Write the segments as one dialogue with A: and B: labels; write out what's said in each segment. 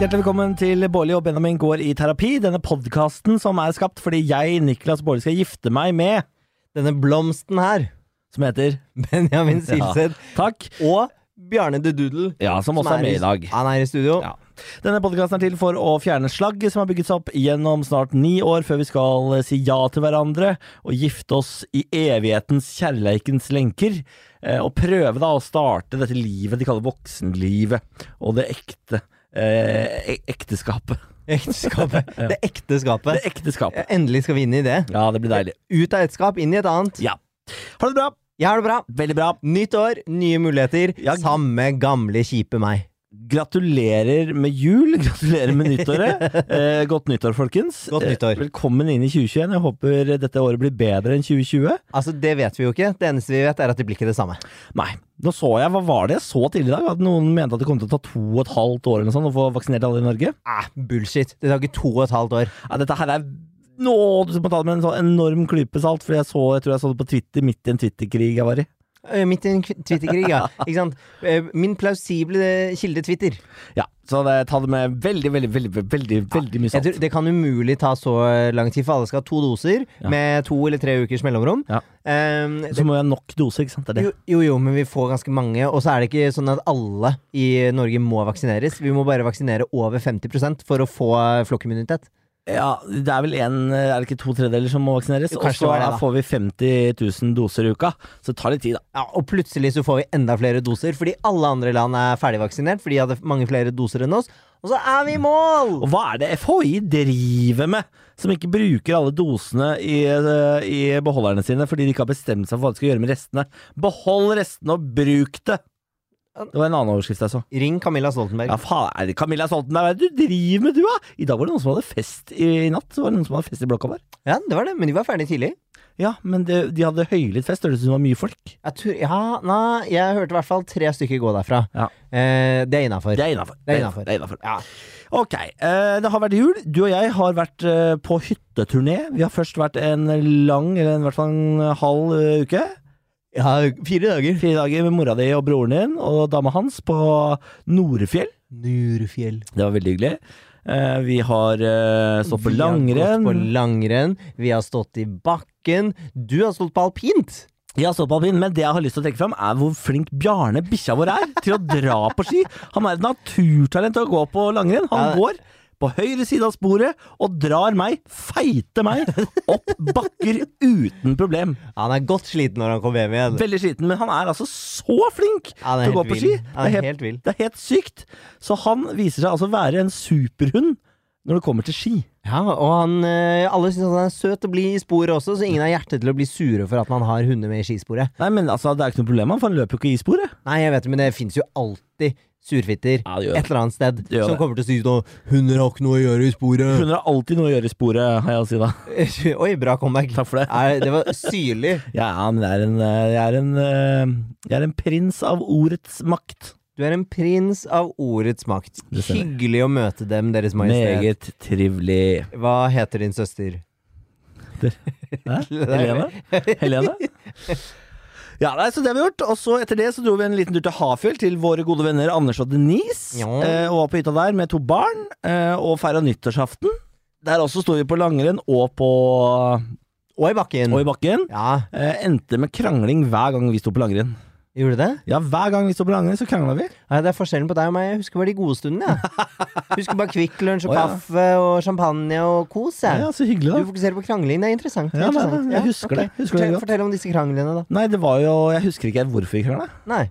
A: Hjertelig velkommen til Bårli og Benjamin går i terapi. Denne podkasten som er skapt fordi jeg, Niklas Bårli, skal gifte meg med
B: Denne blomsten her,
A: Som heter
B: Benjamin Silseth
A: Takk.
B: og Bjarne The Doodle.
A: Ja, som også er med i dag.
B: Han er i studio.
A: Ja. Denne podkasten er til for å fjerne slagget som har bygget seg opp gjennom snart ni år, før vi skal si ja til hverandre og gifte oss i evighetens kjærleikens lenker. eh, Og prøve da å starte dette livet de kaller voksenlivet, og det ekte. Eh, e- ekteskapet.
B: Ekteskapet. Det ekte
A: Det
B: skapet.
A: ekte skapet.
B: Endelig skal vi inn i det.
A: Ja, det blir deilig.
B: Ut av et skap, inn i et annet.
A: Ja. Ha det bra.
B: Jeg har det bra.
A: Veldig bra.
B: Nytt år, nye muligheter.
A: Ja.
B: Samme gamle, kjipe meg.
A: Gratulerer med jul, gratulerer med nyttåret. Eh, godt nyttår, folkens.
B: Godt nyttår.
A: Eh, velkommen inn i 2021. Jeg håper dette året blir bedre enn 2020.
B: Altså, Det vet vi jo ikke. Det eneste vi vet, er at det blir ikke det samme.
A: Nei, nå så jeg, hva var det jeg så tidligere i dag? At noen mente at det kom til å ta to og et halvt år eller noe sånt å få vaksinert alle i Norge.
B: Ah, bullshit. Det tar ikke to og et halvt år.
A: Ja, dette her er nå du må ta det med en sånn enorm klype salt, for jeg, så, jeg tror jeg så det på Twitter midt i en Twitter-krig jeg var i.
B: Eh, Midt i en kv- Twitter-krig, ja. Ikke sant? Eh, Min plausible eh, kilde Twitter.
A: Ja, så det, ta det med veldig, veldig, veldig, veldig, veldig mye
B: Jeg
A: salt.
B: tror, det kan umulig ta så eh, lang tid, for alle skal ha to doser
A: Ja.
B: med to eller tre ukers mellomrom.
A: Ja.
B: Ehm, det,
A: Så må jeg ha nok doser, ikke sant? Det er det.
B: jo, jo, jo, men vi får ganske mange. Og så er det ikke sånn at alle i Norge må vaksineres. Vi må bare vaksinere over 50 for å få eh, flokkimmunitet.
A: Ja, det er vel en, eh, er det ikke to tredjedeler som må vaksineres?
B: Jo,
A: Og
B: kanskje det
A: så
B: var det, da.
A: får vi 50 000 doser i uka, så det tar litt tid, da.
B: Ja, og plutselig så får vi enda flere doser, fordi alle andre land er ferdigvaksinert. For de hadde mange flere doser enn oss. Og så er vi i mål!
A: Og hva er det FHI driver med, som ikke bruker alle dosene i, eh, i beholderne sine fordi de ikke har bestemt seg for hva de skal gjøre med restene? Behold restene og bruk det! Det var en annen overskrift jeg så.
B: Ring Camilla Stoltenberg.
A: Ja, faen, er det Camilla Stoltenberg, hva er det du driver med, du, da? I dag var det noen som hadde fest i, i natt. Så var det noen som hadde fest i blokka vår.
B: Ja, det var det, men de var ferdig tidlig.
A: Ja, men det, de hadde høylytt fest, hørtes ut som det var mye folk.
B: Jeg tror, ja, nei, jeg hørte i hvert fall tre stykker gå derfra.
A: Ja.
B: Eh, det er innafor.
A: Det er innafor.
B: Det er innenfor.
A: Det er innafor.
B: Ja.
A: Ok, eh, det har vært jul. Du og jeg har vært eh, på hytteturné. Vi har først vært en lang, eller i hvert fall en halv eh, uke.
B: ja, fire dager.
A: Fire dager med mora di og broren din og dama hans på Norefjell.
B: Nurfjell.
A: Det var veldig hyggelig. Eh, vi har eh, stått på langrenn.
B: Vi har gått på langrenn, vi har stått i bakken. Du har stått på alpint!
A: Jeg har stått på alpin, men det jeg har lyst til å trekke fram, er hvor flink Bjarne, bikkja vår, er til å dra på ski. Han er et naturtalent til å gå på langrenn. Han
B: Ja.
A: går på høyre side av sporet og drar meg, feite meg, opp bakker uten problem.
B: Han er godt sliten når han kommer hjem igjen.
A: Veldig sliten, men han er altså så flink
B: Ja, han er
A: til å gå
B: helt
A: på
B: vill.
A: ski.
B: Han er helt vill.
A: det er helt sykt. Så han viser seg altså å være en superhund når det kommer til ski.
B: Ja, og han, eh, alle syns han er søt og blid i sporet også, så ingen har hjerte til å bli sure for at man har hunder med i skisporet.
A: Nei, men altså, det er ikke noe problem, for han løper jo ikke i sporet.
B: Nei, jeg vet det, men det fins jo alltid surfitter
A: Ja, det gjør det.
B: et eller annet sted
A: gjør
B: som
A: det.
B: kommer til å si sånn 'Hunder har ikke noe å gjøre i sporet'.
A: Hunder har alltid noe å gjøre i sporet, har jeg å si da.
B: Oi, bra comeback.
A: Takk for det.
B: Nei, det var syrlig.
A: Ja, men jeg er en, eh, jeg er en, eh, jeg er en prins av ordets makt.
B: Du er en prins av ordets makt.
A: Det stemmer.
B: Hyggelig å møte dem, Deres Majestet.
A: Meget trivelig.
B: Hva heter din søster?
A: Hæ? Helene? Helene? Ja, nei, så det har vi gjort. Og så etter det så dro vi en liten tur til Hafjell, til våre gode venner Anders og Denise.
B: Ja.
A: Eh, og var på hytta der med to barn, eh, og feira nyttårsaften. Der også sto vi på langrenn og, på,
B: Og i bakken.
A: og i bakken.
B: Ja,
A: Eh, endte med krangling hver gang vi sto på langrenn.
B: gjorde du det?
A: Ja, hver gang vi sto på langrenn, så krangla vi.
B: Nei, det er forskjellen på deg og meg. Jeg husker bare de gode stundene. jeg. Husker bare Kvikk Lunsj og
A: Å, ja.
B: kaffe og champagne og kos. jeg.
A: Ja, så hyggelig,
B: Du
A: da.
B: fokuserer på krangling. Det er interessant. Det
A: Ja,
B: er
A: nei,
B: interessant.
A: nei, jeg husker
B: ok.
A: det. Husker det
B: fortell,
A: godt.
B: fortell om disse kranglene, da.
A: Nei, det var jo Jeg husker ikke helt hvorfor vi krangla.
B: Nei.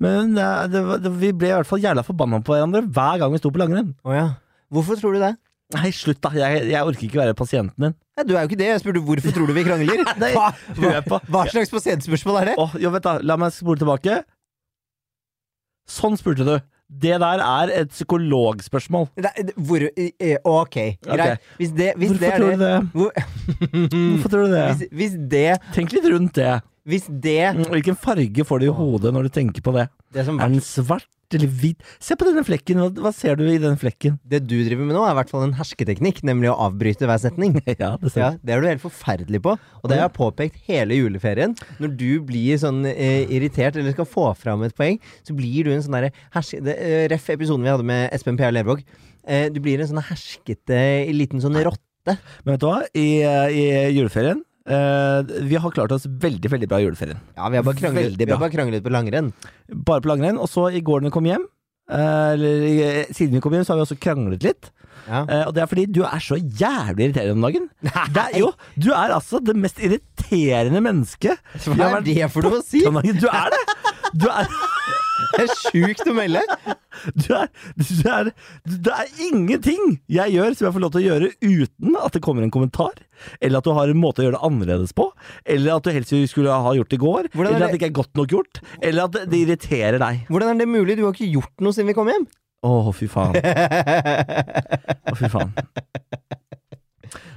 A: Men det, det, var- det, vi ble i hvert fall jævla forbanna på hverandre hver gang vi sto på langrenn.
B: Å ja. Hvorfor tror du det?
A: Nei, slutt, da. Jeg, jeg orker ikke være pasienten din.
B: Nei, du er jo ikke det. Jeg spurte hvorfor tror du vi krangler.
A: Nei,
B: hva, hva,
A: hør på.
B: hva slags pasientspørsmål er det?
A: Åh, jo, vent da, la meg spole tilbake. Sånn spurte du. Det der er et psykologspørsmål.
B: Nei, det- hvor, i- i- ok, greit. Hvis det, hvis det
A: Hvorfor
B: er
A: tror du det?
B: Hvor-
A: Hvorfor tror du det?
B: hvis, hvis det
A: Tenk litt rundt det.
B: Hvis det
A: Mm, Hvilken farge får du i hodet når du tenker på det?
B: Det, som,
A: Er den svart eller hvit? Se på denne flekken. Hva, hva ser du i den flekken?
B: det du driver med nå, er i hvert fall en hersketeknikk, nemlig å avbryte hver setning.
A: Ja, det ser
B: Ja, det er du helt forferdelig på, og det har jeg påpekt hele juleferien. Når du blir sånn eh, irritert eller skal få fram et poeng, så blir du en sånn derre herske... det, eh, Ref episoden vi hadde med Espen P.A. Lervåg. Eh, Du blir en sånn herskete liten sånn rotte.
A: Men vet du hva? I, eh, i juleferien eh, Vi har klart oss veldig, veldig bra i juleferien.
B: Ja, vi har bare kranglet,
A: Veldig
B: vi
A: bra.
B: har bare kranglet på langrenn.
A: Bare på langrenn. Og så i går når vi kom hjem eh, eller eh, siden vi kom hjem, så har vi også kranglet litt.
B: Ja.
A: Eh, og det er fordi du er så jævlig irriterende om dagen. Det er, jo, du er altså det mest irriterende mennesket vi
B: Hva
A: har
B: er
A: vært
B: det for noe å si?
A: borte om dagen. Du er det! Du er,
B: Det er sjukt å melde!
A: du er, du er, du, det er ingenting jeg gjør som jeg får lov til å gjøre uten at det kommer en kommentar, eller at du har en måte å gjøre det annerledes på, eller at du helst skulle ha gjort det i går,
B: Hvordan er
A: eller at
B: det-
A: det ikke er godt nok gjort, eller at det, det irriterer deg.
B: Hvordan er det mulig? Du har ikke gjort noe siden vi kom hjem.
A: Å, fy faen. Å, fy faen.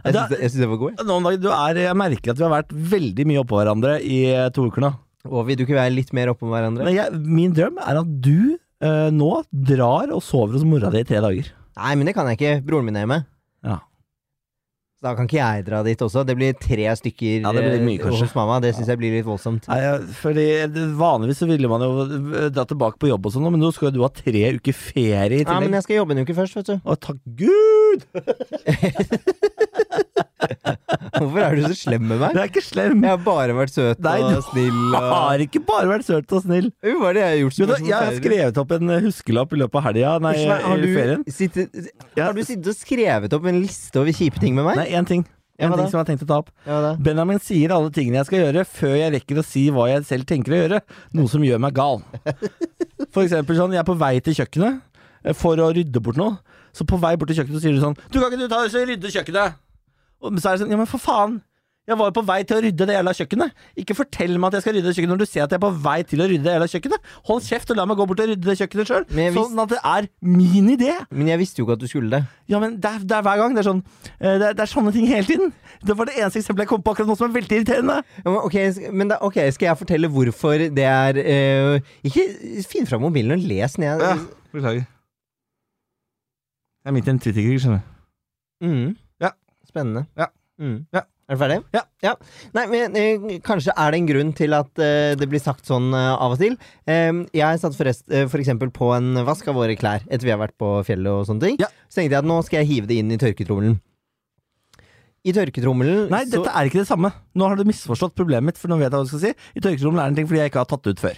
B: Jeg
A: Da-
B: syns jeg synes det var god. jeg.
A: Nå om dagen, du er, jeg merker at vi har vært veldig mye oppå hverandre i eh, to uker nå.
B: Og vil du ikke være litt mer oppå hverandre?
A: Men jeg, min drøm er at du eh, nå drar og sover hos mora di i tre dager.
B: Nei, men det kan jeg ikke. Broren min er hjemme.
A: Ja.
B: Så da kan ikke jeg dra dit også. Det blir tre stykker
A: Ja, det blir litt mye,
B: eh,
A: kanskje.
B: hos mamma. Det syns jeg blir litt voldsomt.
A: Nei, jeg- fordi det- Vanligvis så ville man jo eh, dra tilbake på jobb, og sånn, men nå skal jo du ha tre uker ferie i
B: Ja,
A: tillegg.
B: men jeg skal jobbe en uke først, vet du.
A: Å, takk Gud!
B: Hvorfor er du så slem med meg?
A: Du er ikke slem.
B: Jeg har bare vært søt
A: Nei, du
B: og snill og
A: Har ikke bare vært søt og snill.
B: Jo, Hva er det jeg har gjort?
A: Jo,
B: som
A: da,
B: er så
A: jeg har
B: forferdelig?
A: skrevet opp en eh, huskelapp i løpet av helga, nei,
B: Unnskyld meg, har,
A: i ferien.
B: du sittet,
A: Ja.
B: har du sittet og skrevet opp en liste over kjipe ting med meg?
A: Nei, én ting.
B: Ja,
A: En
B: hva da?
A: ting som jeg har tenkt å ta opp.
B: Ja, da.
A: Benjamin sier alle tingene jeg skal gjøre, før jeg rekker å si hva jeg selv tenker å gjøre. Noe som gjør meg gal. For eksempel sånn, jeg er på vei til kjøkkenet eh, for å rydde bort noe. Så på vei bort til kjøkkenet så sier du sånn Du kan ikke du ta og så rydde kjøkkenet? Og så er det sånn Ja, men for faen. Jeg var jo på vei til å rydde det jævla kjøkkenet. Ikke fortell meg at jeg skal rydde det kjøkkenet når du ser at jeg er på vei til å rydde det jævla kjøkkenet. Hold kjeft og la meg gå bort og rydde det kjøkkenet sjøl.
B: Men jeg vis-
A: Sånn at det er min idé.
B: Men jeg visste jo ikke at du skulle det.
A: Ja, men det er, det er hver gang. Det er, sånn, eh, det, er, det er sånne ting hele tiden. Det var det eneste eksempelet jeg kom på akkurat nå som er veldig irriterende.
B: Ja, men ok, sk- men da, ok, skal jeg fortelle hvorfor det er eh, Ikke finn fram mobilen og les ned.
A: Ja, beklager. Jeg er midt i en Twitter-krig, skjønner du.
B: Mm.
A: Ja.
B: Spennende.
A: Ja.
B: Mm.
A: Ja.
B: Er du ferdig?
A: Ja.
B: Nei, men eh, kanskje er det en grunn til at eh, det blir sagt sånn eh, av og til. Eh, jeg satt forrest, eh, for eksempel på en vask av våre klær etter vi har vært på fjellet og sånne ting.
A: Ja.
B: Så tenkte jeg at nå skal jeg hive det inn i tørketrommelen. I tørketrommelen
A: Nei,
B: så
A: dette er ikke det samme. Nå har du misforstått problemet mitt, for nå vet jeg hva du skal si. I tørkerommet er det en ting fordi jeg ikke har tatt det ut før.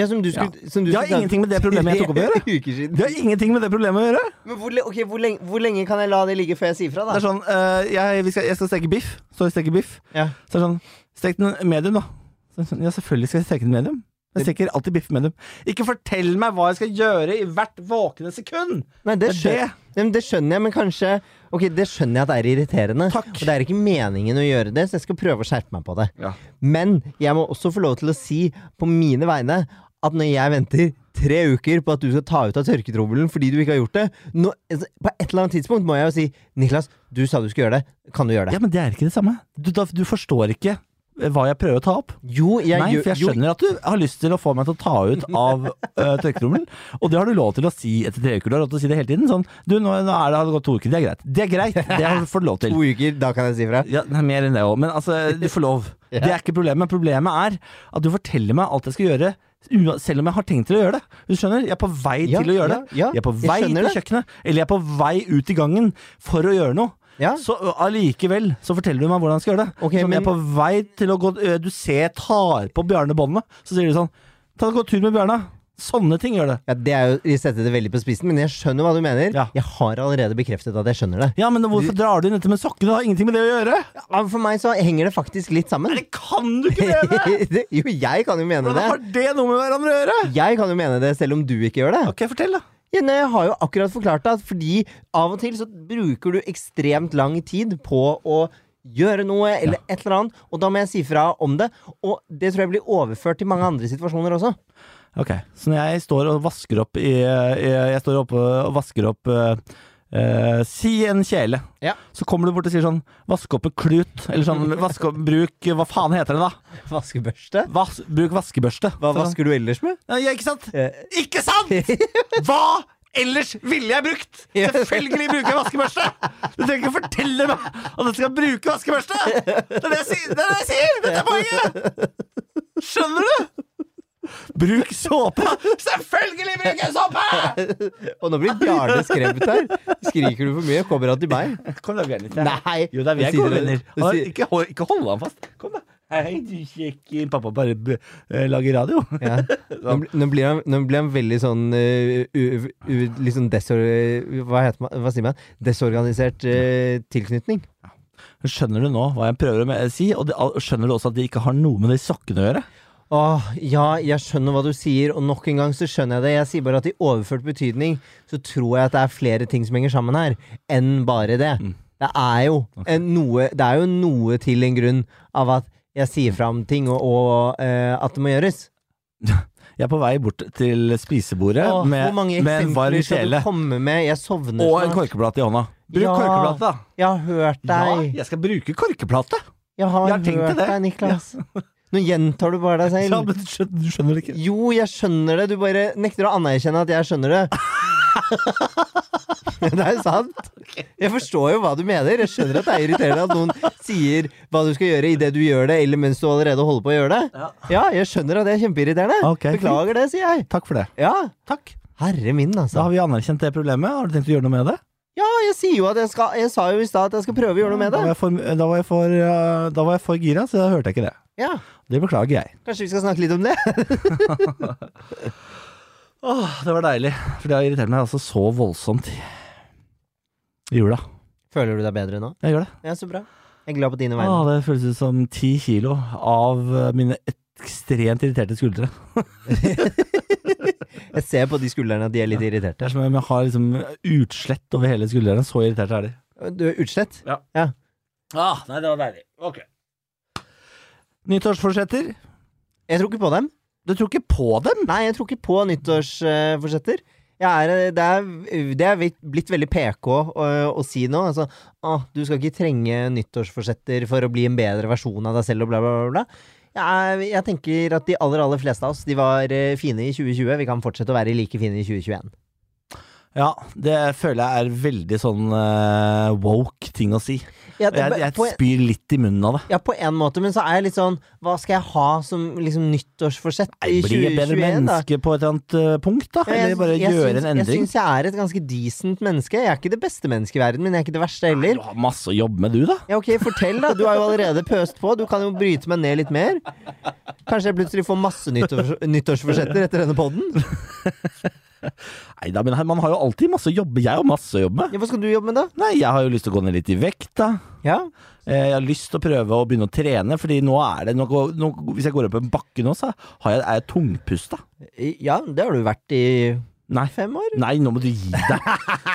B: ja, som du skulle, som du
A: Det har
B: skulle ta-
A: ingenting med det problemet jeg tok opp å gjøre.
B: Tre uker siden.
A: Det har ingenting med det problemet å gjøre.
B: Men hvor, le- ok, hvor, lenge, hvor lenge kan jeg la det ligge før jeg sier fra,
A: Det
B: da?
A: er sånn, øh, jeg, vi skal, jeg skal steke biff. Så jeg steker biff.
B: Ja.
A: Så er det sånn, stek den medium, da. Så, er det sånn, ja, selvfølgelig skal jeg steke den medium. Jeg steker alltid biff medium. Ikke fortell meg hva jeg skal gjøre i hvert våkne sekund!
B: Nei,
A: Det
B: det,
A: er
B: skjønner,
A: det.
B: Nei, men det skjønner jeg, men kanskje Ok, det skjønner jeg at det er irriterende.
A: Takk.
B: Og det er ikke meningen å gjøre det, så jeg skal prøve å skjerpe meg på det.
A: Ja.
B: Men jeg må også få lov til å si på mine vegne at når jeg venter tre uker på at du skal ta ut av tørketrommelen fordi du ikke har gjort det nå, altså, På et eller annet tidspunkt må jeg jo si Niklas, du sa du skulle gjøre det. Kan du gjøre det?
A: Ja, men det er ikke det samme. Du, da, du forstår ikke eh, hva jeg prøver å ta opp.
B: Jo, jeg
A: Nei,
B: gjør
A: for jeg
B: jo-
A: skjønner at du har lyst til å få meg til å ta ut av uh, tørketrommelen, og det har du lov til å si etter tre uker. Du har lov til å si det hele tiden. Sånn, du, nå, nå er det, har det gått to uker, det er greit. Det er greit, det har du fått lov til.
B: To uker, da kan jeg si fra.
A: Ja, nei, mer enn det òg, men altså, du får lov.
B: Ja.
A: Det er ikke problemet. Problemet er at du forteller meg alt jeg skal gjøre, ua- selv om jeg har tenkt til å gjøre det. Du skjønner? Jeg er på vei
B: Ja,
A: til å gjøre
B: ja,
A: det.
B: ja,
A: jeg er på
B: jeg
A: vei til
B: skjønner det.
A: kjøkkenet, eller jeg er på vei ut i gangen for å gjøre noe.
B: Ja.
A: Så ø, allikevel så forteller du meg hvordan jeg skal gjøre det.
B: Ok,
A: som jeg
B: men-
A: er på vei til å gå ø, Du ser jeg tar på Bjarne båndet, så sier du sånn Ta og Gå tur med Bjarne. Sånne ting gjør det.
B: Ja, det er jo, Vi setter det veldig på spissen, men jeg skjønner hva du mener.
A: Ja.
B: Jeg har allerede bekreftet at jeg skjønner det.
A: Ja, men hvorfor drar du inn dette med sokkene? Det har ingenting med det å gjøre!
B: Ja, For meg så henger det faktisk litt sammen.
A: Det kan du ikke mene!
B: Det- jo, jeg kan jo mene
A: Hvordan
B: det.
A: har det noe med hverandre å gjøre?
B: Jeg kan jo mene det selv om du ikke gjør det.
A: Ok, fortell, da.
B: Ja, nei, jeg har jo akkurat forklart det, at fordi av og til så bruker du ekstremt lang tid på å gjøre noe eller et eller annet, og da må jeg si fra om det. Og det tror jeg blir overført til mange andre situasjoner også.
A: Ok, så når jeg står og vasker opp i, i Jeg står oppe og vasker opp eh, eh, Si en kjele.
B: Ja.
A: Så kommer du bort og sier sånn Vask opp en klut. Eller sånn vask opp, Bruk Hva faen heter den, da?
B: Vaskebørste?
A: Vas, bruk vaskebørste.
B: Hva
A: Så sånn,
B: vasker du ellers med?
A: ja, ja, ikke sant?
B: Eh.
A: Ikke sant?! Hva ellers ville jeg brukt?
B: Ja.
A: Selvfølgelig bruker jeg vaskebørste! Du trenger ikke fortelle meg at jeg skal bruke vaskebørste! Det er det jeg sier! Det er det jeg sier. Dette er poenget! Skjønner du? Bruk såpe! Selvfølgelig bruker jeg såpe!
B: Og nå blir Bjarne skremt her. Skriker du for mye, kommer han til meg.
A: Kom da, Bjørn. litt.
B: Nei!
A: Jo da, vi er
B: Du sier
A: gode
B: det-
A: venner.
B: du
A: Han-
B: sier-
A: Ikke, hold- ikke hold han fast. Kom, da. Hei, du kjekke Pappa bare b eh, lager radio.
B: Ja. Nå, bl- nå, blir han, nå blir han veldig sånn eh, u, u, Litt sånn desor... Hva, heter man, hva sier man? Desorganisert eh, tilknytning.
A: Skjønner du nå hva jeg prøver å me- si, og det, al- skjønner du også at det ikke har noe med de sokkene å gjøre?
B: Åh, ja, jeg skjønner hva du sier, og nok en gang så skjønner jeg det. Jeg sier bare at i overført betydning så tror jeg at det er flere ting som henger sammen her, enn bare det.
A: Mm.
B: Det er jo, en, noe, det er jo noe til en grunn av at jeg sier fra om ting, og, og eh, at det må gjøres.
A: Jeg er på vei bort til spisebordet
B: Åh,
A: med,
B: hvor mange
A: med en varm
B: eksempler skal du
A: kjele
B: komme med? Jeg sovner
A: og en
B: snart.
A: korkeplate i hånda. Bruk
B: Ja.
A: korkeplate, da!
B: Jeg har hørt
A: Ja,
B: deg.
A: jeg skal bruke korkeplate!
B: Jeg har,
A: Jeg har tenkt
B: hørt
A: det.
B: deg, Niklas. Nå gjentar du bare deg
A: Ja,
B: selv.
A: men du skjønner, du skjønner det ikke.
B: Jo, jeg skjønner det. Du bare nekter å anerkjenne at jeg skjønner det. det er sant. Jeg forstår jo hva du mener. Jeg skjønner at det er irriterende at noen sier hva du skal gjøre idet du gjør det, eller mens du allerede holder på å gjøre det.
A: Ja.
B: Ja, jeg skjønner at det er kjempeirriterende.
A: Ok, fint.
B: Beklager det, sier jeg.
A: Takk for det.
B: Ja.
A: Takk.
B: Herre min,
A: Da
B: altså.
A: har vi anerkjent det problemet. Har du tenkt å gjøre noe med det?
B: Ja, jeg sier jo at jeg skal Jeg sa jo i stad at jeg skal prøve å gjøre noe med
A: Da var
B: det.
A: jeg for, da var jeg for, eh, da var jeg for gira, så da hørte jeg ikke det.
B: Ja,
A: Det beklager jeg.
B: Kanskje vi skal snakke litt om det?
A: Åh, det var deilig. For det har irritert meg altså så voldsomt i i jula.
B: Føler du deg bedre nå?
A: Jeg gjør det.
B: Ja, så bra. Jeg er glad på dine vegne.
A: Åh, det føles ut som ti kilo av eh, mine ekstremt irriterte skuldre.
B: Jeg ser på de skuldrene at de er litt irriterte.
A: Det er som om jeg har liksom utslett over hele skuldrene. Så irritert er de.
B: Du er utslett?
A: Ah, nei, det var deilig. Ok. Nyttårsforsetter?
B: Jeg tror ikke på dem.
A: Du tror ikke på dem?
B: Nei, jeg tror ikke på nyttårsforsetter. Jeg er, det, er, det er vitt- blitt veldig PK å, å si nå. Altså, «Åh, du skal ikke trenge nyttårsforsetter for å bli en bedre versjon av deg selv og bla, bla, bla. bla. Jeg, er- jeg tenker at de aller, aller fleste av oss de var eh, fine i 2020. Vi kan fortsette å være like fine i 2021.
A: Ja, det føler jeg er veldig sånn eh, woke ting å si.
B: Ja,
A: Og Jeg,
B: på-
A: jeg spyr litt i munnen av det.
B: Ja, på en måte, men så er jeg litt sånn Hva skal jeg ha som liksom, nyttårsforsett i
A: Bli et bedre
B: 2021, da?
A: menneske på et eller annet eh, punkt, da.
B: Ja,
A: Eller bare gjøre
B: syns,
A: en
B: jeg
A: endring.
B: syns jeg er et ganske decent menneske. Jeg er ikke det beste mennesket i verden, men jeg er ikke det verste
A: Nei,
B: heller.
A: Du har masse å jobbe med, du, da.
B: Ja, ok, Fortell, da. Du har jo allerede pøst på. Du kan jo bryte meg ned litt mer. Kanskje jeg plutselig får masse nyttårs nyttårsforsetter etter denne poden?
A: Nei da, men her- man har jo alltid masse å jobbe Jeg har masse å jobbe med.
B: Ja, hva skal du jobbe med, da?
A: Nei, jeg har jo lyst til å gå ned litt i vekt, da.
B: Ja,
A: Eh, Jeg har lyst til å prøve å begynne å trene, fordi nå er det nå, går- nå, Hvis jeg går opp en bakke nå, så har jeg, er jeg tungpusta.
B: ja det har du vært i
A: Nei.
B: fem år.
A: Nei, nå må du gi deg.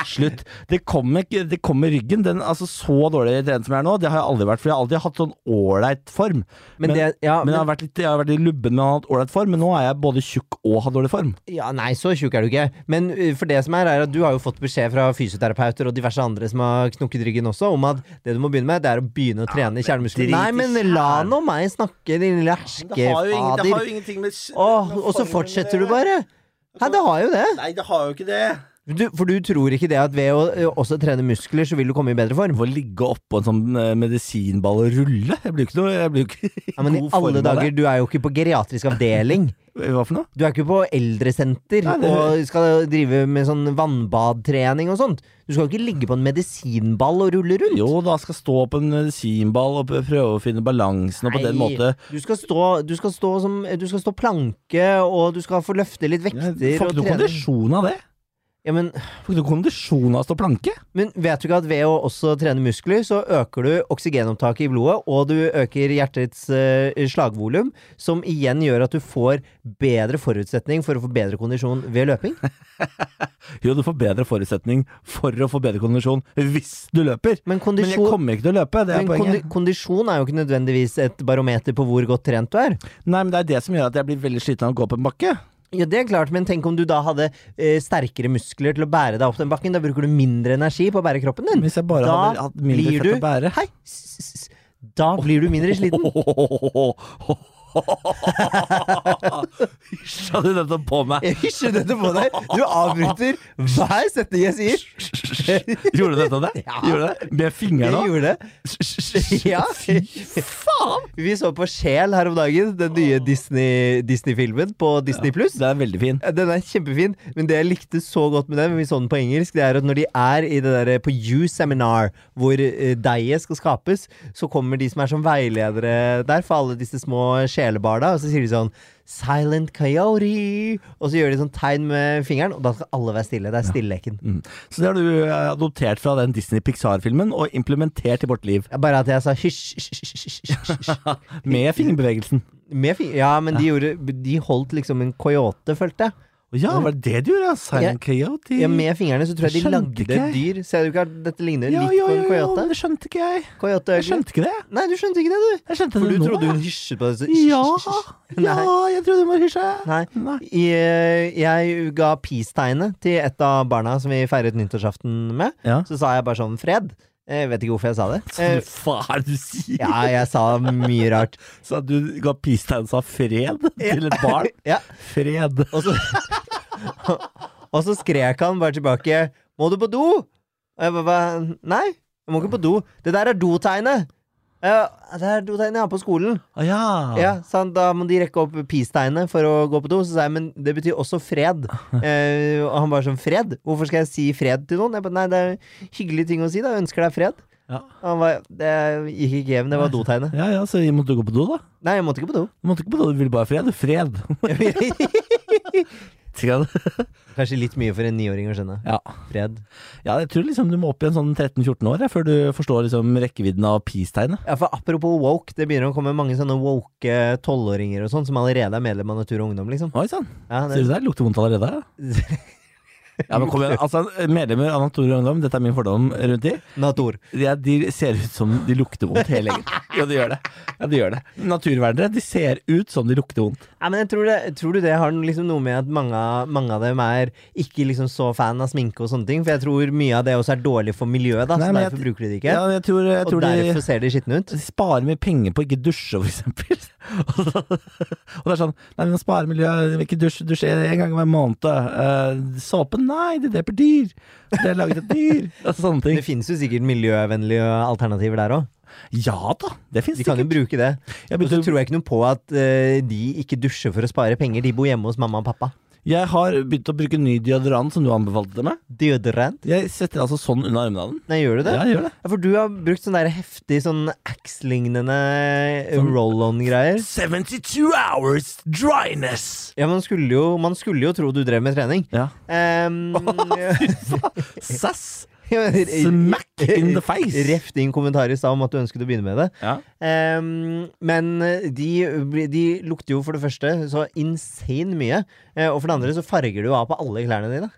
A: Slutt. Det kommer, ikke- det kommer ryggen. Den, altså, så dårlig trent som jeg er nå, det har jeg aldri vært. For jeg har alltid hatt sånn ålreit form.
B: Men, det, ja,
A: Men jeg
B: men,
A: har vært litt, jeg har vært litt lubben med å ha hatt ålreit form, men nå er jeg både tjukk og har dårlig form.
B: Ja, Nei, så tjukk er du ikke. Men uh, for det som er, er at du har jo fått beskjed fra fysioterapeuter og diverse andre som har knukket ryggen også, om at det du må begynne med, det er å begynne å trene kjernemuskler.
A: drit i
B: Nei, men la
A: kjern-
B: nå meg snakke, din lille herskefader.
A: ingenting med
B: Åh, og så fortsetter du bare. Hæ, det har jo det.
A: Nei, det har jo ikke det.
B: Du, for du tror ikke det at ved å ø, også trene muskler, så vil du komme i bedre form?
A: Å ligge oppå en sånn eh, medisinball og rulle Jeg blir jo ikke noe Jeg blir jo ikke
B: Ja, men i
A: god form
B: alle
A: av det.
B: dager, du er jo ikke på geriatrisk avdeling.
A: Hva for noe?
B: Du er ikke på eldresenter
A: Nei, det-
B: og skal drive med sånn vannbadtrening og sånt. Du skal jo ikke ligge på en medisinball og rulle rundt.
A: Jo da, skal stå på en medisinball og prøve å finne balansen, og på den
B: Nei,
A: måte
B: Du skal, stå, du, skal stå som, du skal stå planke, og du skal få løfte litt
A: Jeg
B: vekter.
A: Får
B: og
A: ikke noe
B: trene.
A: kondisjon av det.
B: Ja, men,
A: Får ikke noe kondisjon av å stå planke.
B: men vet du ikke at ved å også trene muskler, så øker du oksygenopptaket i blodet, og du øker hjertets uh, slagvolum, som igjen gjør at du får bedre forutsetning for å få bedre kondisjon ved løping?
A: Jo, du får bedre forutsetning for å få bedre kondisjon hvis du løper.
B: Men
A: Men jeg
B: kondisjon
A: kommer ikke til å løpe, det er
B: men kondi
A: poenget.
B: kondisjon er jo ikke nødvendigvis et barometer på hvor godt trent du er.
A: Nei, men det er det som gjør at jeg blir veldig sliten av å gå opp en bakke.
B: Ja, det er klart, men tenk om du da hadde eh, sterkere muskler til å bære deg opp den bakken. Da bruker du mindre energi på å bære kroppen din.
A: Hvis jeg bare
B: Da
A: hadde hatt mindre fett
B: blir
A: å
B: du-
A: bære.
B: Hei! s- s- s- Da blir du mindre sliten.
A: Åh, Hysja du dette på meg?
B: Jeg hysjer dette på deg! Du avbryter hver setning jeg sier.
A: Gjorde du dette det? Gjorde du det? Med
B: Jeg
A: fingrene òg?
B: gjorde det. Ja.
A: Fy faen!
B: Vi så på Sjel her om dagen, den nye Disney- Disney-filmen på Disney pluss.
A: Den er veldig fin.
B: Ja, Den er kjempefin, men det jeg likte så godt med den, men vi så den på engelsk, det er at når de er i det der, på U-seminar, hvor eh, deiget skal skapes, så kommer de som er som veiledere der for alle disse små sjelebarna, og så sier de sånn Silent coyote! Og så gjør de sånn tegn med fingeren, og da skal alle være stille. Det er stilleleken.
A: Mm. Så det har du eh, adoptert fra den Disney Pixar-filmen og implementert i vårt liv.
B: Bare at jeg sa hysj, hysj, hysj, hysj, hysj, hysj.
A: Med fingerbevegelsen.
B: Med fing ja, men de, gjorde, de holdt liksom en coyote, følte jeg.
A: Å Ja, var det det du gjorde? ja? Silent Coyote?
B: Ja, med fingrene så tror jeg de
A: Skjønte
B: lagde
A: ikke jeg.
B: et dyr. Ser du ikke at dette ligner
A: ja,
B: litt
A: ja, ja,
B: på en
A: ja,
B: coyote?
A: men det skjønte ikke jeg.
B: Coyote
A: Jeg skjønte ikke det. jeg.
B: Nei, du skjønte ikke det, du.
A: Jeg skjønte
B: For
A: det
B: du
A: nå.
B: trodde
A: jeg.
B: hun hysjet på deg. så-
A: Ja, ja,
B: Nei.
A: jeg trodde hun var hysja.
B: Nei.
A: Nei.
B: Jeg, jeg ga peace-tegnet til et av barna som vi feiret nyttårsaften med.
A: Ja.
B: Så sa jeg bare sånn 'fred'. Jeg vet ikke hvorfor jeg sa det.
A: Hva
B: Eh,
A: faen er det du sier?
B: Ja, jeg sa mye rart.
A: Så at du ga peace-tegn sa fred til et barn?
B: Ja.
A: Fred.
B: Og så, og så skrek han bare tilbake 'Må du på do?' Og jeg bare "Hva? 'Nei, jeg må ikke på do'. 'Det der er dotegnet'. «Ja, det er dotegnet jeg har på skolen.
A: Å Ah, ja.
B: Ja, sant, Da må de rekke opp peace-tegnet for å gå på do. Så sa jeg men det betyr også fred. Eh, og han bare sånn Fred? Hvorfor skal jeg si fred til noen? Jeg bare, Nei, det er en hyggelig ting å si. da, Jeg ønsker deg fred.
A: Ja.
B: Og han bare, Det gikk ikke hjem, det var dotegnet.
A: ja, ja, så måtte du gå på do, da?
B: Nei, jeg måtte ikke på do.
A: Du måtte ikke på do, du ville bare fred. Fred.
B: Kanskje litt mye for en niåring å skjønne.
A: ja.
B: Fred.
A: ja, jeg tror liksom du må opp i en sånn 13-14 år jeg, før du forstår liksom rekkevidden av peace-tegnet.
B: Ja, for Apropos woke, det begynner å komme mange sånne woke tolvåringer og sånn som allerede er medlem av Natur og Ungdom, liksom.
A: Oi sann,
B: Ja,
A: ser
B: det,
A: du der? Lukter vondt allerede. Ja, men kom igjen. Altså, medlemmer av Natur og Ungdom, dette er min fordom rundt de.
B: sånn Natur.
A: De, er, de ser ut som de lukter vondt hele gjengen. Ja, de gjør det. Ja, de gjør det. Naturvernere, de ser ut som de lukter vondt.
B: Ja, men jeg tror, det, tror du det har liksom noe med at mange, av- mange av dem er ikke liksom så fan av sminke og sånne ting? For jeg tror mye av det også er dårlig for miljøet, da,
A: Nei,
B: så
A: men
B: derfor
A: jeg-
B: bruker de det ikke.
A: Ja, jeg tror, jeg
B: og
A: tror de
B: derfor ser de skitne ut.
A: de sparer mye penger på å ikke dusje, for eksempel. og så- og det er sånn Nei, vi må spare miljøet, vi vil ikke dusje, dusje en gang hver måned. Eh, såpe? Nei, det dreper dyr. Det er laget av dyr. Og sånne
B: Det
A: ting.
B: finnes jo sikkert miljøvennlige alternativer der òg.
A: Ja da, det fins
B: De kan jo
A: sikkert.
B: bruke altså, det.
A: Jeg,
B: Og så
A: begynte,
B: tror jeg ikke noe på at eh, de ikke dusjer for å spare penger. De bor hjemme hos mamma og pappa.
A: jeg har begynt å bruke ny deodorant, som du anbefalte meg.
B: Deodorant?
A: Jeg setter altså sånn under armene av den.
B: Nei, gjør du det?
A: Ja, jeg gjør det.
B: Ja, for du har brukt sånn der heftig sånn Axe-lignende eh,
A: Sånn-
B: roll-on-greier.
A: 72 hours dryness.
B: Ja, man skulle, jo, man skulle jo tro du drev med trening.
A: Ja.
B: Um,
A: Sass.
B: Smack
A: Smack in the face.
B: Ref din kommentar eh, i stad om at du ønsket å begynne med det.
A: Ja.
B: Ehm, men de, de lukter jo for det første så insane mye, eh, og for det andre så farger du jo av på alle klærne dine.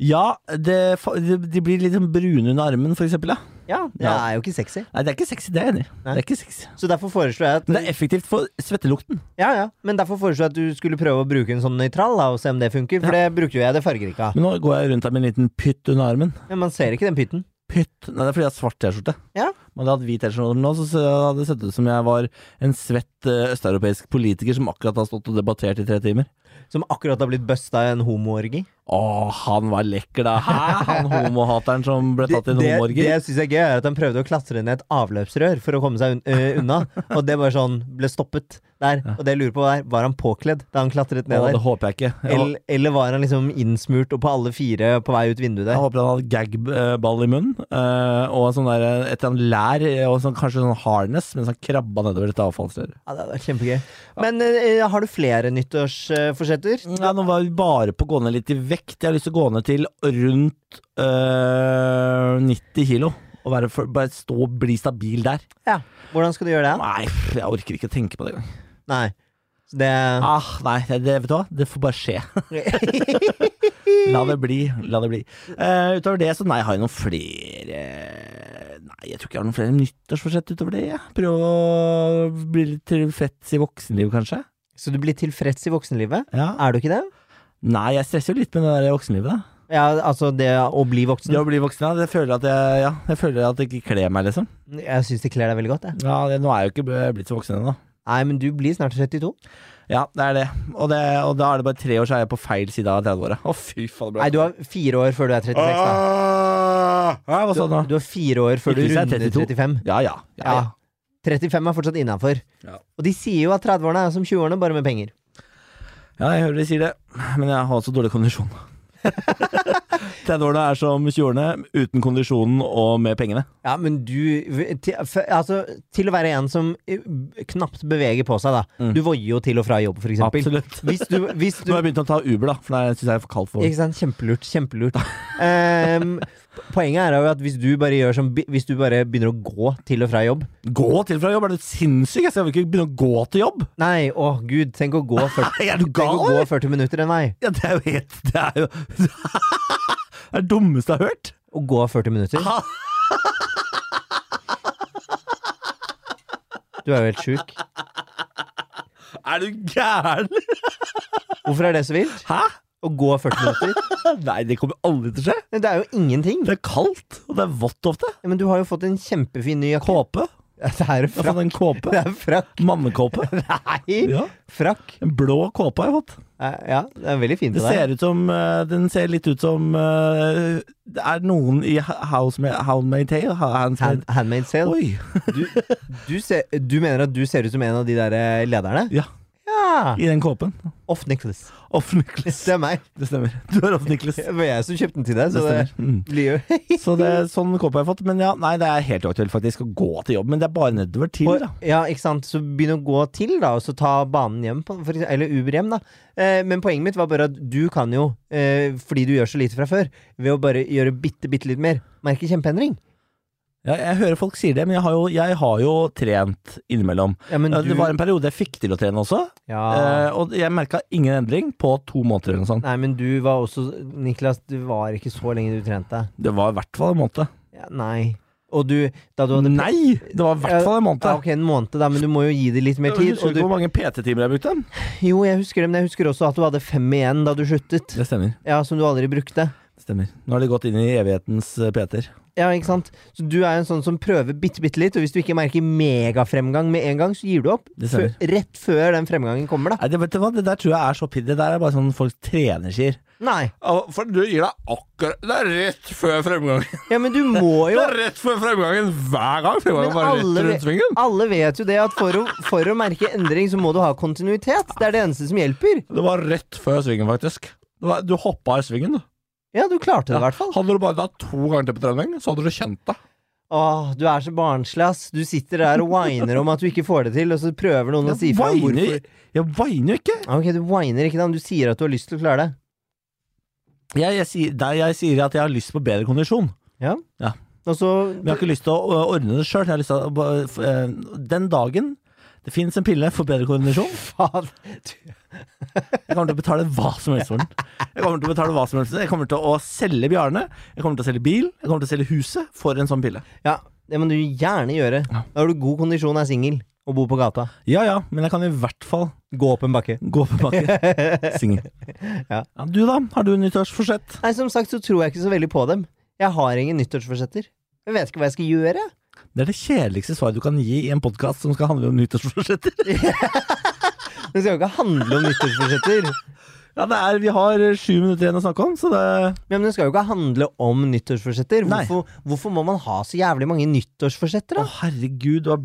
A: Ja, det, fa- de de blir litt sånn brune under armen, for eksempel. Ja.
B: Ja, Det
A: Ja.
B: er jo ikke sexy.
A: Nei, det er ikke sexy, det er jeg enig i. Det
B: Nei.
A: er ikke sexy.
B: Så derfor foreslår jeg at
A: Men det er effektivt for svettelukten.
B: Ja, ja, men derfor foreslår jeg at du skulle prøve å bruke en sånn nøytral da, og se om det funker, for det brukte jo jeg, det farger ikke av.
A: Men nå går jeg rundt her med en liten pytt under armen.
B: Men man ser ikke den pytten.
A: Pytt? Nei, det er fordi jeg har svart T-skjorte.
B: Ja.
A: Om jeg hadde hatt hvit T-skjorte nå, så så hadde det sett ut som jeg var en svett eh, østeuropeisk politiker som akkurat har stått og debattert i tre timer.
B: Som akkurat har blitt busta i en homoorgi.
A: Å, han var lekker, da! Hæ? Han homohateren som ble tatt i en
B: det, det
A: homoorgie.
B: jeg syns er gøy, er at han prøvde å klatre ned et avløpsrør for å komme seg un ø, unna, og det bare sånn ble stoppet der. Og det jeg lurer på er, var han påkledd da han klatret
A: Å,
B: ned
A: det
B: der?
A: håper jeg ikke. Jeg,
B: Eller, eller var han liksom innsmurt og på alle fire på vei ut vinduet
A: jeg
B: der?
A: håper han hadde gagball i munnen, eh, og sånn der, eh, et eller annet lær, eh, og sånn, kanskje sånn harness, mens han krabba nedover dette avfallsrøret.
B: Ja, det hadde vært kjempegøy. Men ø, har du flere nyttårsforsetter?
A: Nei, nå var vi bare på å gå ned litt i vekt. Jeg har lyst til å gå ned til rundt øh, 90 kilo. Og være for, bare stå og bli stabil der.
B: Ja. Hvordan skal du gjøre det?
A: Nei, pff, jeg orker ikke å tenke på det engang.
B: Nei. Så Det
A: Ah, nei, det, det- vet du hva? Det får bare skje. La det bli. La det bli. Eh, utover det, så nei, har jeg noen flere Nei, jeg tror ikke jeg har noen flere nyttårsforsett utover det. jeg. Prøve å bli litt tilfreds i voksenlivet, kanskje.
B: Så du blir tilfreds i voksenlivet?
A: Ja.
B: Er du ikke det?
A: Nei, jeg stresser jo litt med det der voksenlivet, da.
B: Ja, altså det å bli voksen.
A: Det å bli voksen, ja. Det føler at jeg, ja, jeg føler at det ikke kler meg, liksom.
B: Jeg syns det kler deg veldig godt. Jeg.
A: Ja, det, Nå er jeg jo ikke bl- blitt så voksen ennå.
B: Nei, men du blir snart 32.
A: Ja, det er det. Og, det. og da er det bare tre år, så er jeg på feil side av 30-åra. Å, fy faen, det ble
B: Nei, du har fire år før du er 36, da.
A: Nei, hva
B: Du,
A: sa du nå?
B: du har fire år før du
A: Ikke hvis jeg er
B: runder
A: 32.
B: 35.
A: Ja, ja. ja,
B: Ja.
A: ja.
B: 35 er fortsatt innafor.
A: Ja.
B: Og de sier jo at 30-årene er som 20-årene, bare med penger.
A: Ja, jeg hører de sier det, men jeg har også dårlig kondisjon. 30-årene er som 20-årene, uten kondisjonen og med pengene.
B: Ja, men du til, f- altså, til å være en som eh, b- knapt beveger på seg, da.
A: Mm.
B: Du voier jo til og fra jobb, for eksempel.
A: Absolutt.
B: Hvis du, hvis
A: Nå
B: du
A: har jeg begynt å ta Uber, da, for det syns jeg er for kaldt for.
B: Ikke sant? Kjempelurt. Kjempelurt. Ehm, poenget er jo at hvis du bare gjør som bi- Hvis du bare begynner å gå til og fra jobb
A: Gå til fra jobb, er du sinnssyk? Jeg skal vel ikke begynne å gå til jobb?
B: Nei, å gud, tenk å gå 40,
A: Nei, er du
B: tenk
A: gal,
B: å gå
A: eller?
B: 40 minutter en vei.
A: Ja, det er jo helt Det er jo Det er det dummeste jeg har hørt.
B: Å gå 40 minutter?
A: Ha!
B: Du er jo helt sjuk.
A: Er du gæren?
B: Hvorfor er det så vilt?
A: Hæ?
B: Å gå 40 minutter?
A: Nei, det kommer aldri til å skje.
B: Det er jo ingenting.
A: Det er kaldt, og det er vått ofte.
B: Men du har jo fått en kjempefin ny jakke.
A: Kåpe.
B: Det er
A: Jeg har
B: jo frakk.
A: fått en kåpe.
B: Det er frakk.
A: Mannekåpe.
B: Nei!
A: Ja.
B: Frakk.
A: En blå kåpe har jeg fått.
B: Eh, Ja, det er veldig fint
A: Det
B: av deg.
A: ser ut som eh, Den ser litt ut som eh, Det er noen i Houndmade Tale
B: Hand,
A: Houndmade
B: handmade sale.
A: Oi!
B: Du, du, ser, du mener at du ser ut som en av de der eh, lederne?
A: Ja.
B: Ja.
A: I den kåpen.
B: Off necklace.
A: Off Nicholas.
B: Det er meg.
A: Det stemmer. Du er Off Nicholas.
B: Det var jeg som kjøpte den til deg,
A: Det
B: så det,
A: stemmer. Mm.
B: blir jo
A: Så det, sånn kåpe har jeg fått. Men ja, nei, det er helt uaktuelt faktisk å gå til jobb. Men det er bare nedover til, da.
B: Ja, ikke sant. Så begynn å gå til, da, og så ta banen hjem, på, for, eksempel- eller Uber hjem, da. Eh, men poenget mitt var bare at du kan jo, eh, fordi du gjør så lite fra før, ved å bare gjøre bitte, bitte litt mer, merke kjempeendring.
A: Ja, jeg hører folk sier det, men jeg har jo, jeg har jo trent innimellom.
B: Ja, men
A: Ja,
B: du
A: Det var en periode jeg fikk til å trene også,
B: ja.
A: eh, og jeg merka ingen endring på to måneder eller noe sånt.
B: Nei, men du var også Niklas, du var ikke så lenge du trente.
A: Det var i hvert fall en måned.
B: Ja, nei. Og du Da du hadde
A: Nei! Det var i hvert fall en
B: ja,
A: måned.
B: Ok, en måned, da, men du må jo gi det litt mer
A: Jeg
B: tid.
A: husker
B: Og
A: ikke
B: du,
A: hvor mange PT-timer jeg brukte.
B: jo, jeg husker det, men jeg husker også at du hadde fem igjen da du sluttet.
A: Det stemmer.
B: Ja, som du aldri brukte.
A: Stemmer. Nå har de gått inn i evighetens eh, Peter.
B: Ja, ikke sant? Så du er en sånn som prøver bitte, bitte litt, og hvis du ikke merker megafremgang med en gang, så gir du opp.
A: Det stemmer.
B: Før- rett før den fremgangen kommer, da.
A: Nei, det, vet du hva? det der tror jeg er så pidd. Det der er bare sånn folk trener sier.
B: Nei.
A: Ah, For du gir deg akkurat Det er rett før fremgangen.
B: Ja, men du må jo
A: rett før fremgangen hver gang. Fremgangen
B: Men alle, ve- alle vet jo det at for å, for å merke endring, så må du ha kontinuitet. Det er det eneste som hjelper.
A: Det var rett før svingen, faktisk. Det var- Du hoppa i svingen, du.
B: Ja, du klarte det i hvert fall.
A: Hadde du bare da to ganger til på trening, så hadde du kjent det.
B: Åh, du er så barnslig, ass. Du sitter der og whiner om at du ikke får det til, og så prøver noen å si
A: Jeg
B: fra om hvorfor.
A: whiner- jeg whiner jo ikke.
B: Ok, du whiner ikke, da, men du sier at du har lyst til å klare det.
A: Jeg, jeg, sier, nei, jeg sier at jeg har lyst på bedre kondisjon.
B: Og så
A: Men jeg har ikke lyst til å ø, ordne det sjøl. eh, Den dagen det fins en pille for bedre koordinasjon,
B: Faen. du-
A: jeg kommer til å betale hva som helst for den. Jeg kommer til å betale hva som helst Jeg kommer til å selge Bjarne, jeg kommer til å selge bil, jeg kommer til å selge huset for en sånn pille.
B: Ja, det må du gjerne gjøre. Da har du god kondisjon, er singel og bor på gata.
A: Ja ja, men jeg kan i hvert fall
B: Gå opp en bakke.
A: gå på bakken. Singel.
B: Ja.
A: Ja, du da? Har du nyttårsforsett?
B: Nei, som sagt så tror jeg ikke så veldig på dem. Jeg har ingen nyttårsforsetter. Jeg vet ikke hva jeg skal gjøre.
A: Det er det kjedeligste svaret du kan gi i en podkast som skal handle om nyttårsforsetter.
B: Det skal jo ikke handle om nyttårsforsetter.
A: Ja, det er, vi har eh, sju minutter igjen å snakke om, så det
B: Ja, Men det skal jo ikke handle om nyttårsforsetter.
A: Nei.
B: Hvorfor, hvorfor må man ha så jævlig mange nyttårsforsetter,
A: Å,
B: da?
A: herregud, du har,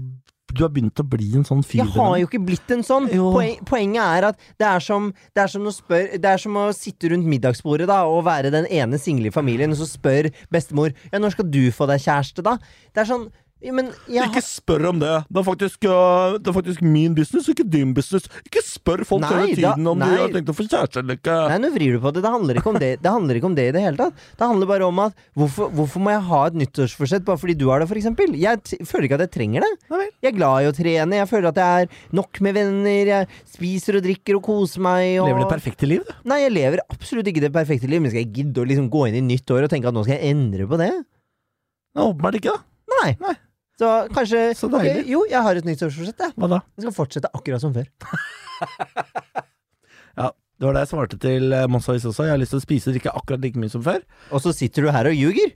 A: du har begynt å bli en sånn fyr.
B: Jeg har jo ikke blitt en sånn.
A: Jo.
B: Poen, poenget er at det er, som, det, er som å spør, det er som å sitte rundt middagsbordet da og være den ene single i familien, og så spør bestemor Ja, når skal du få deg kjæreste, da? Det er sånn ja, men jeg
A: Ikke spør om det. Det er, faktisk, øh, det er faktisk min business, ikke din business. Ikke spør folk
B: Nei,
A: hele tiden
B: da-
A: om de
B: nei.
A: har tenkt å få kjæreste eller ikke.
B: Nei, nå vrir du på det. Det handler ikke om det Det handler ikke om det i det hele tatt. Det handler bare om at hvorfor, hvorfor må jeg ha et nyttårsforsett bare fordi du har det, for eksempel? Jeg t føler ikke at jeg trenger det.
A: Nei vel.
B: Jeg er glad i å trene, jeg føler at jeg er nok med venner, jeg spiser og drikker og koser meg og
A: Lever det perfekte liv? du?
B: Nei, jeg lever absolutt ikke det perfekte liv, men skal jeg gidde å liksom gå inn i nytt år og tenke at nå skal jeg endre på det?
A: Nei, Åpenbart ikke, da.
B: Nei.
A: Nei.
B: Så kanskje
A: Så deilig.
B: Ok, Jo, jeg har et nyttårsforsett, jeg.
A: Hva da?
B: Jeg skal fortsette akkurat som før.
A: Det var det jeg svarte til eh, Mons Avis også. Jeg har lyst til å spise og drikke akkurat like mye som før.
B: Og så sitter du her og ljuger?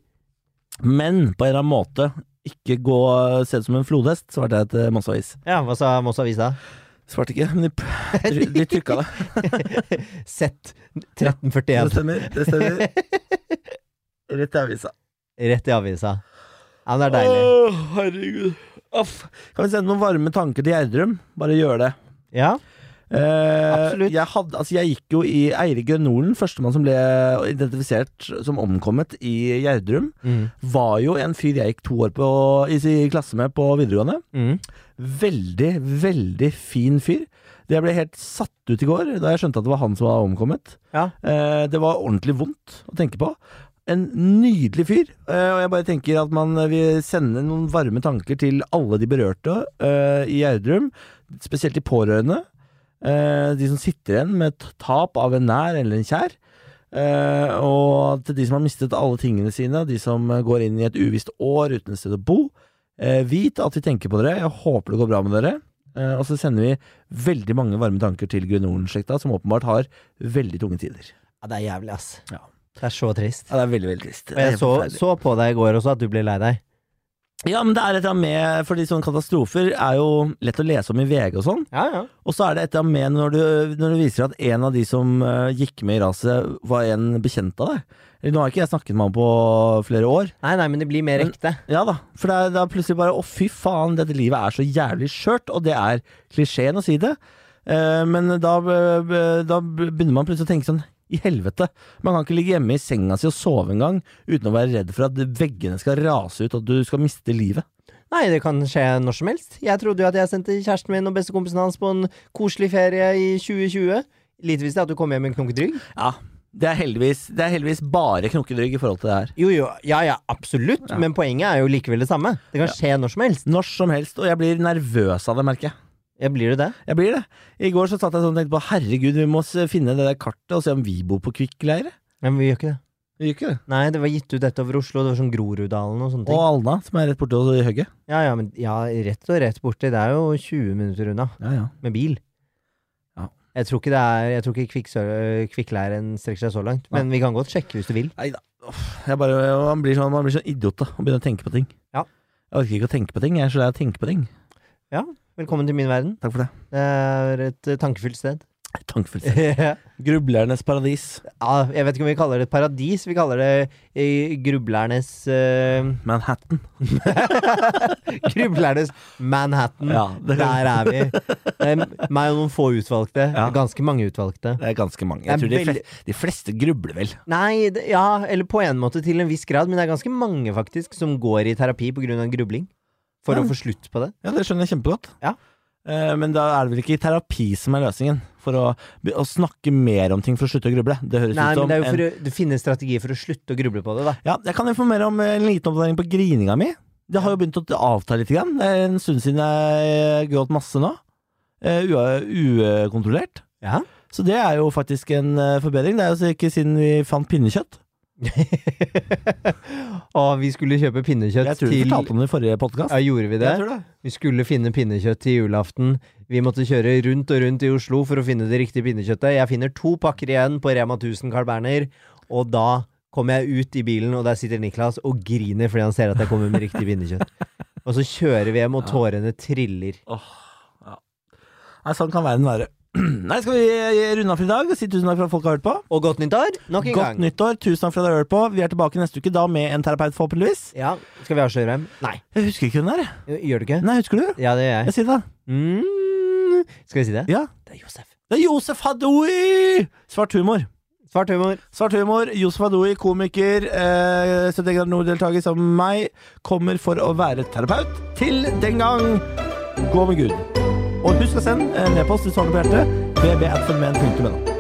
A: Men på en eller annen måte ikke gå se ut som en flodhest, svarte jeg til Mons Avis.
B: Ja, hva sa Moss Avis da?
A: Svarte ikke, men de, de, de trykka det.
B: Sett
A: Det
B: 1341.
A: stemmer. det stemmer. Rett i avisa.
B: Rett i avisa. Ja, men det er deilig.
A: Åh, herregud. Aff. Kan vi sende noen varme tanker til Gjerdrum? Bare gjør det.
B: Ja,
A: Eh,
B: Absolutt.
A: Jeg, hadde, altså jeg gikk jo i Eirik Grønnolen, førstemann som ble identifisert som omkommet i Gjerdrum.
B: mm.
A: Var jo en fyr jeg gikk to år på, i si- klasse med på videregående.
B: Mm.
A: Veldig, veldig fin fyr. Jeg ble helt satt ut i går da jeg skjønte at det var han som var omkommet.
B: Ja.
A: Eh, det var ordentlig vondt å tenke på. En nydelig fyr. Eh, og jeg bare tenker at man vil sende noen varme tanker til alle de berørte eh, i Gjerdrum. Spesielt de pårørende. Eh, de som sitter igjen med et tap av en nær eller en kjær. Eh, og til de som har mistet alle tingene sine, de som går inn i et uvisst år uten et sted å bo. Eh, vit at vi tenker på dere. Jeg håper det går bra med dere. Eh, og så sender vi veldig mange varme tanker til Grenolen-slekta, som åpenbart har veldig tunge tider.
B: ja det er jævlig, ass.
A: Ja.
B: Det er så trist.
A: Ja, det er veldig, veldig trist.
B: Og jeg så, så på deg i går også at du ble lei deg.
A: Ja, men det er et eller annet med Fordi sånne katastrofer er jo lett å lese om i VG og sånn.
B: Ja, ja.
A: Og så er det et eller annet med når du, når du viser at en av de som eh, gikk med i raset, var en bekjent av deg. Eller, Nå har ikke jeg snakket med han på flere år.
B: Nei, nei, men det blir mer
A: Men-
B: ekte.
A: Ja da, for det er, det er plutselig bare å fy faen, dette livet er så jævlig skjørt, og det er klisjeen å si det. Eh, men da, eh, da begynner man plutselig å tenke sånn i helvete. Man kan ikke ligge hjemme i senga si og sove en gang uten å være redd for at veggene skal rase ut og at du skal miste livet.
B: Nei, det kan skje når som helst. Jeg trodde jo at jeg sendte kjæresten min og bestekompisen hans på en koselig ferie i 2020. Lite visste jeg at du kom hjem med en knokkedrygg.
A: Ja, det er heldigvis, det er heldigvis bare knokkedrygg i forhold til det her.
B: Jo, jo, ja, ja, absolutt, men poenget er jo likevel det samme. Det kan skje når som helst.
A: Når som helst, og jeg blir nervøs av det, merker jeg.
B: Ja, blir du det?
A: Jeg blir det. I går så satt jeg sånn og tenkte på herregud, vi må s- finne det der kartet og se om vi bor på Kvikkleire.
B: Ja, men vi gjør ikke det.
A: Vi gjør ikke det.
B: Nei, det var gitt ut dette over Oslo, det var sånn Groruddalen og sånne
A: Og
B: ting.
A: Alna, som er rett borte og i høgget.
B: Ja, ja, men ja, rett og rett borti, det er jo 20 minutter unna,
A: Ja, ja.
B: med bil.
A: Ja.
B: Jeg tror ikke, det er, jeg tror ikke kvikksø- eh, kvikkleiren strekker seg så langt, men vi kan godt sjekke hvis du vil.
A: Nei da. Jeg bare, man, blir sånn, man blir sånn idiot da, og begynner å tenke på ting.
B: Ja.
A: Jeg orker ikke å tenke på ting. Jeg er så lei av å tenke på ting.
B: Velkommen til min verden.
A: Takk for det.
B: Det er et eh, tankefullt sted.
A: Tankefullt.
B: ja,
A: Grublernes paradis.
B: jeg vet ikke om vi kaller det et paradis, vi kaller det eh, grublernes eh,
A: Manhattan.
B: Grublernes Manhattan.
A: Ja, det,
B: Der er vi. Det er meg og noen få utvalgte.
A: Ja.
B: Ganske mange utvalgte.
A: det er ganske mange.
B: Det er
A: Jeg tror de,
B: veldig-
A: fleste, de fleste grubler vel.
B: Nei, det, ja, eller på en måte til en viss grad, men det er ganske mange faktisk som går i terapi pga. grubling. For
A: Ja.
B: å få slutt på det.
A: Ja, det skjønner jeg kjempegodt.
B: Ja.
A: Eh, Men da er det vel ikke terapi som er løsningen? For å, be- å snakke mer om ting for å slutte å gruble. Det høres
B: Nei,
A: ut
B: men
A: som
B: det er jo
A: en-
B: for å det finnes strategier for å slutte å gruble på det, da.
A: Ja, jeg kan informere om en liten oppdatering på grininga mi. Det har jo begynt å avta litt. Grann. Det er en stund siden jeg gråt masse nå. Eh, ua- Ukontrollert.
B: Ja.
A: Så det er jo faktisk en eh, forbedring. Det er jo så ikke siden vi fant pinnekjøtt.
B: Og vi skulle kjøpe pinnekjøtt
A: Jeg tror vi
B: til
A: fortalte om det i forrige podkast.
B: Ja, gjorde vi det?
A: Jeg tror det.
B: Vi skulle finne pinnekjøtt til julaften. Vi måtte kjøre rundt og rundt i Oslo for å finne det riktige pinnekjøttet. Jeg finner to pakker igjen på Rema 1000 Carl Berner, og da kommer jeg ut i bilen, og der sitter Niklas og griner fordi han ser at jeg kommer med riktig pinnekjøtt. Og så kjører vi hjem, og tårene triller.
A: Nei, sånn kan verden være. Nei, skal vi eh, runde av for i dag? Si tusen takk for at folk har hørt på.
B: Og godt nyttår, nok en
A: Godt
B: gang.
A: nyttår. Tusen takk for at dere har hørt på. Vi er tilbake neste uke, da med en terapeut, forhåpentligvis.
B: Ja, skal vi avsløre hvem? Nei,
A: Jeg husker ikke hvem det er. jeg.
B: gjør du ikke?
A: Nei, husker du?
B: Ja, det gjør jeg.
A: Jeg sier det.
B: Mm, skal vi si det?
A: Ja.
B: Det er Josef.
A: Det er Josef Hadoui! Svart humor.
B: Svart humor.
A: Svart humor, Josef Adoui, komiker, eh, 70 grader nord-deltaker sammen med meg, kommer for å være terapeut. Til den gang, gå med Gud. Og husk å sende en e-post hvis du har noe på hjertet. bb.fenomen.no.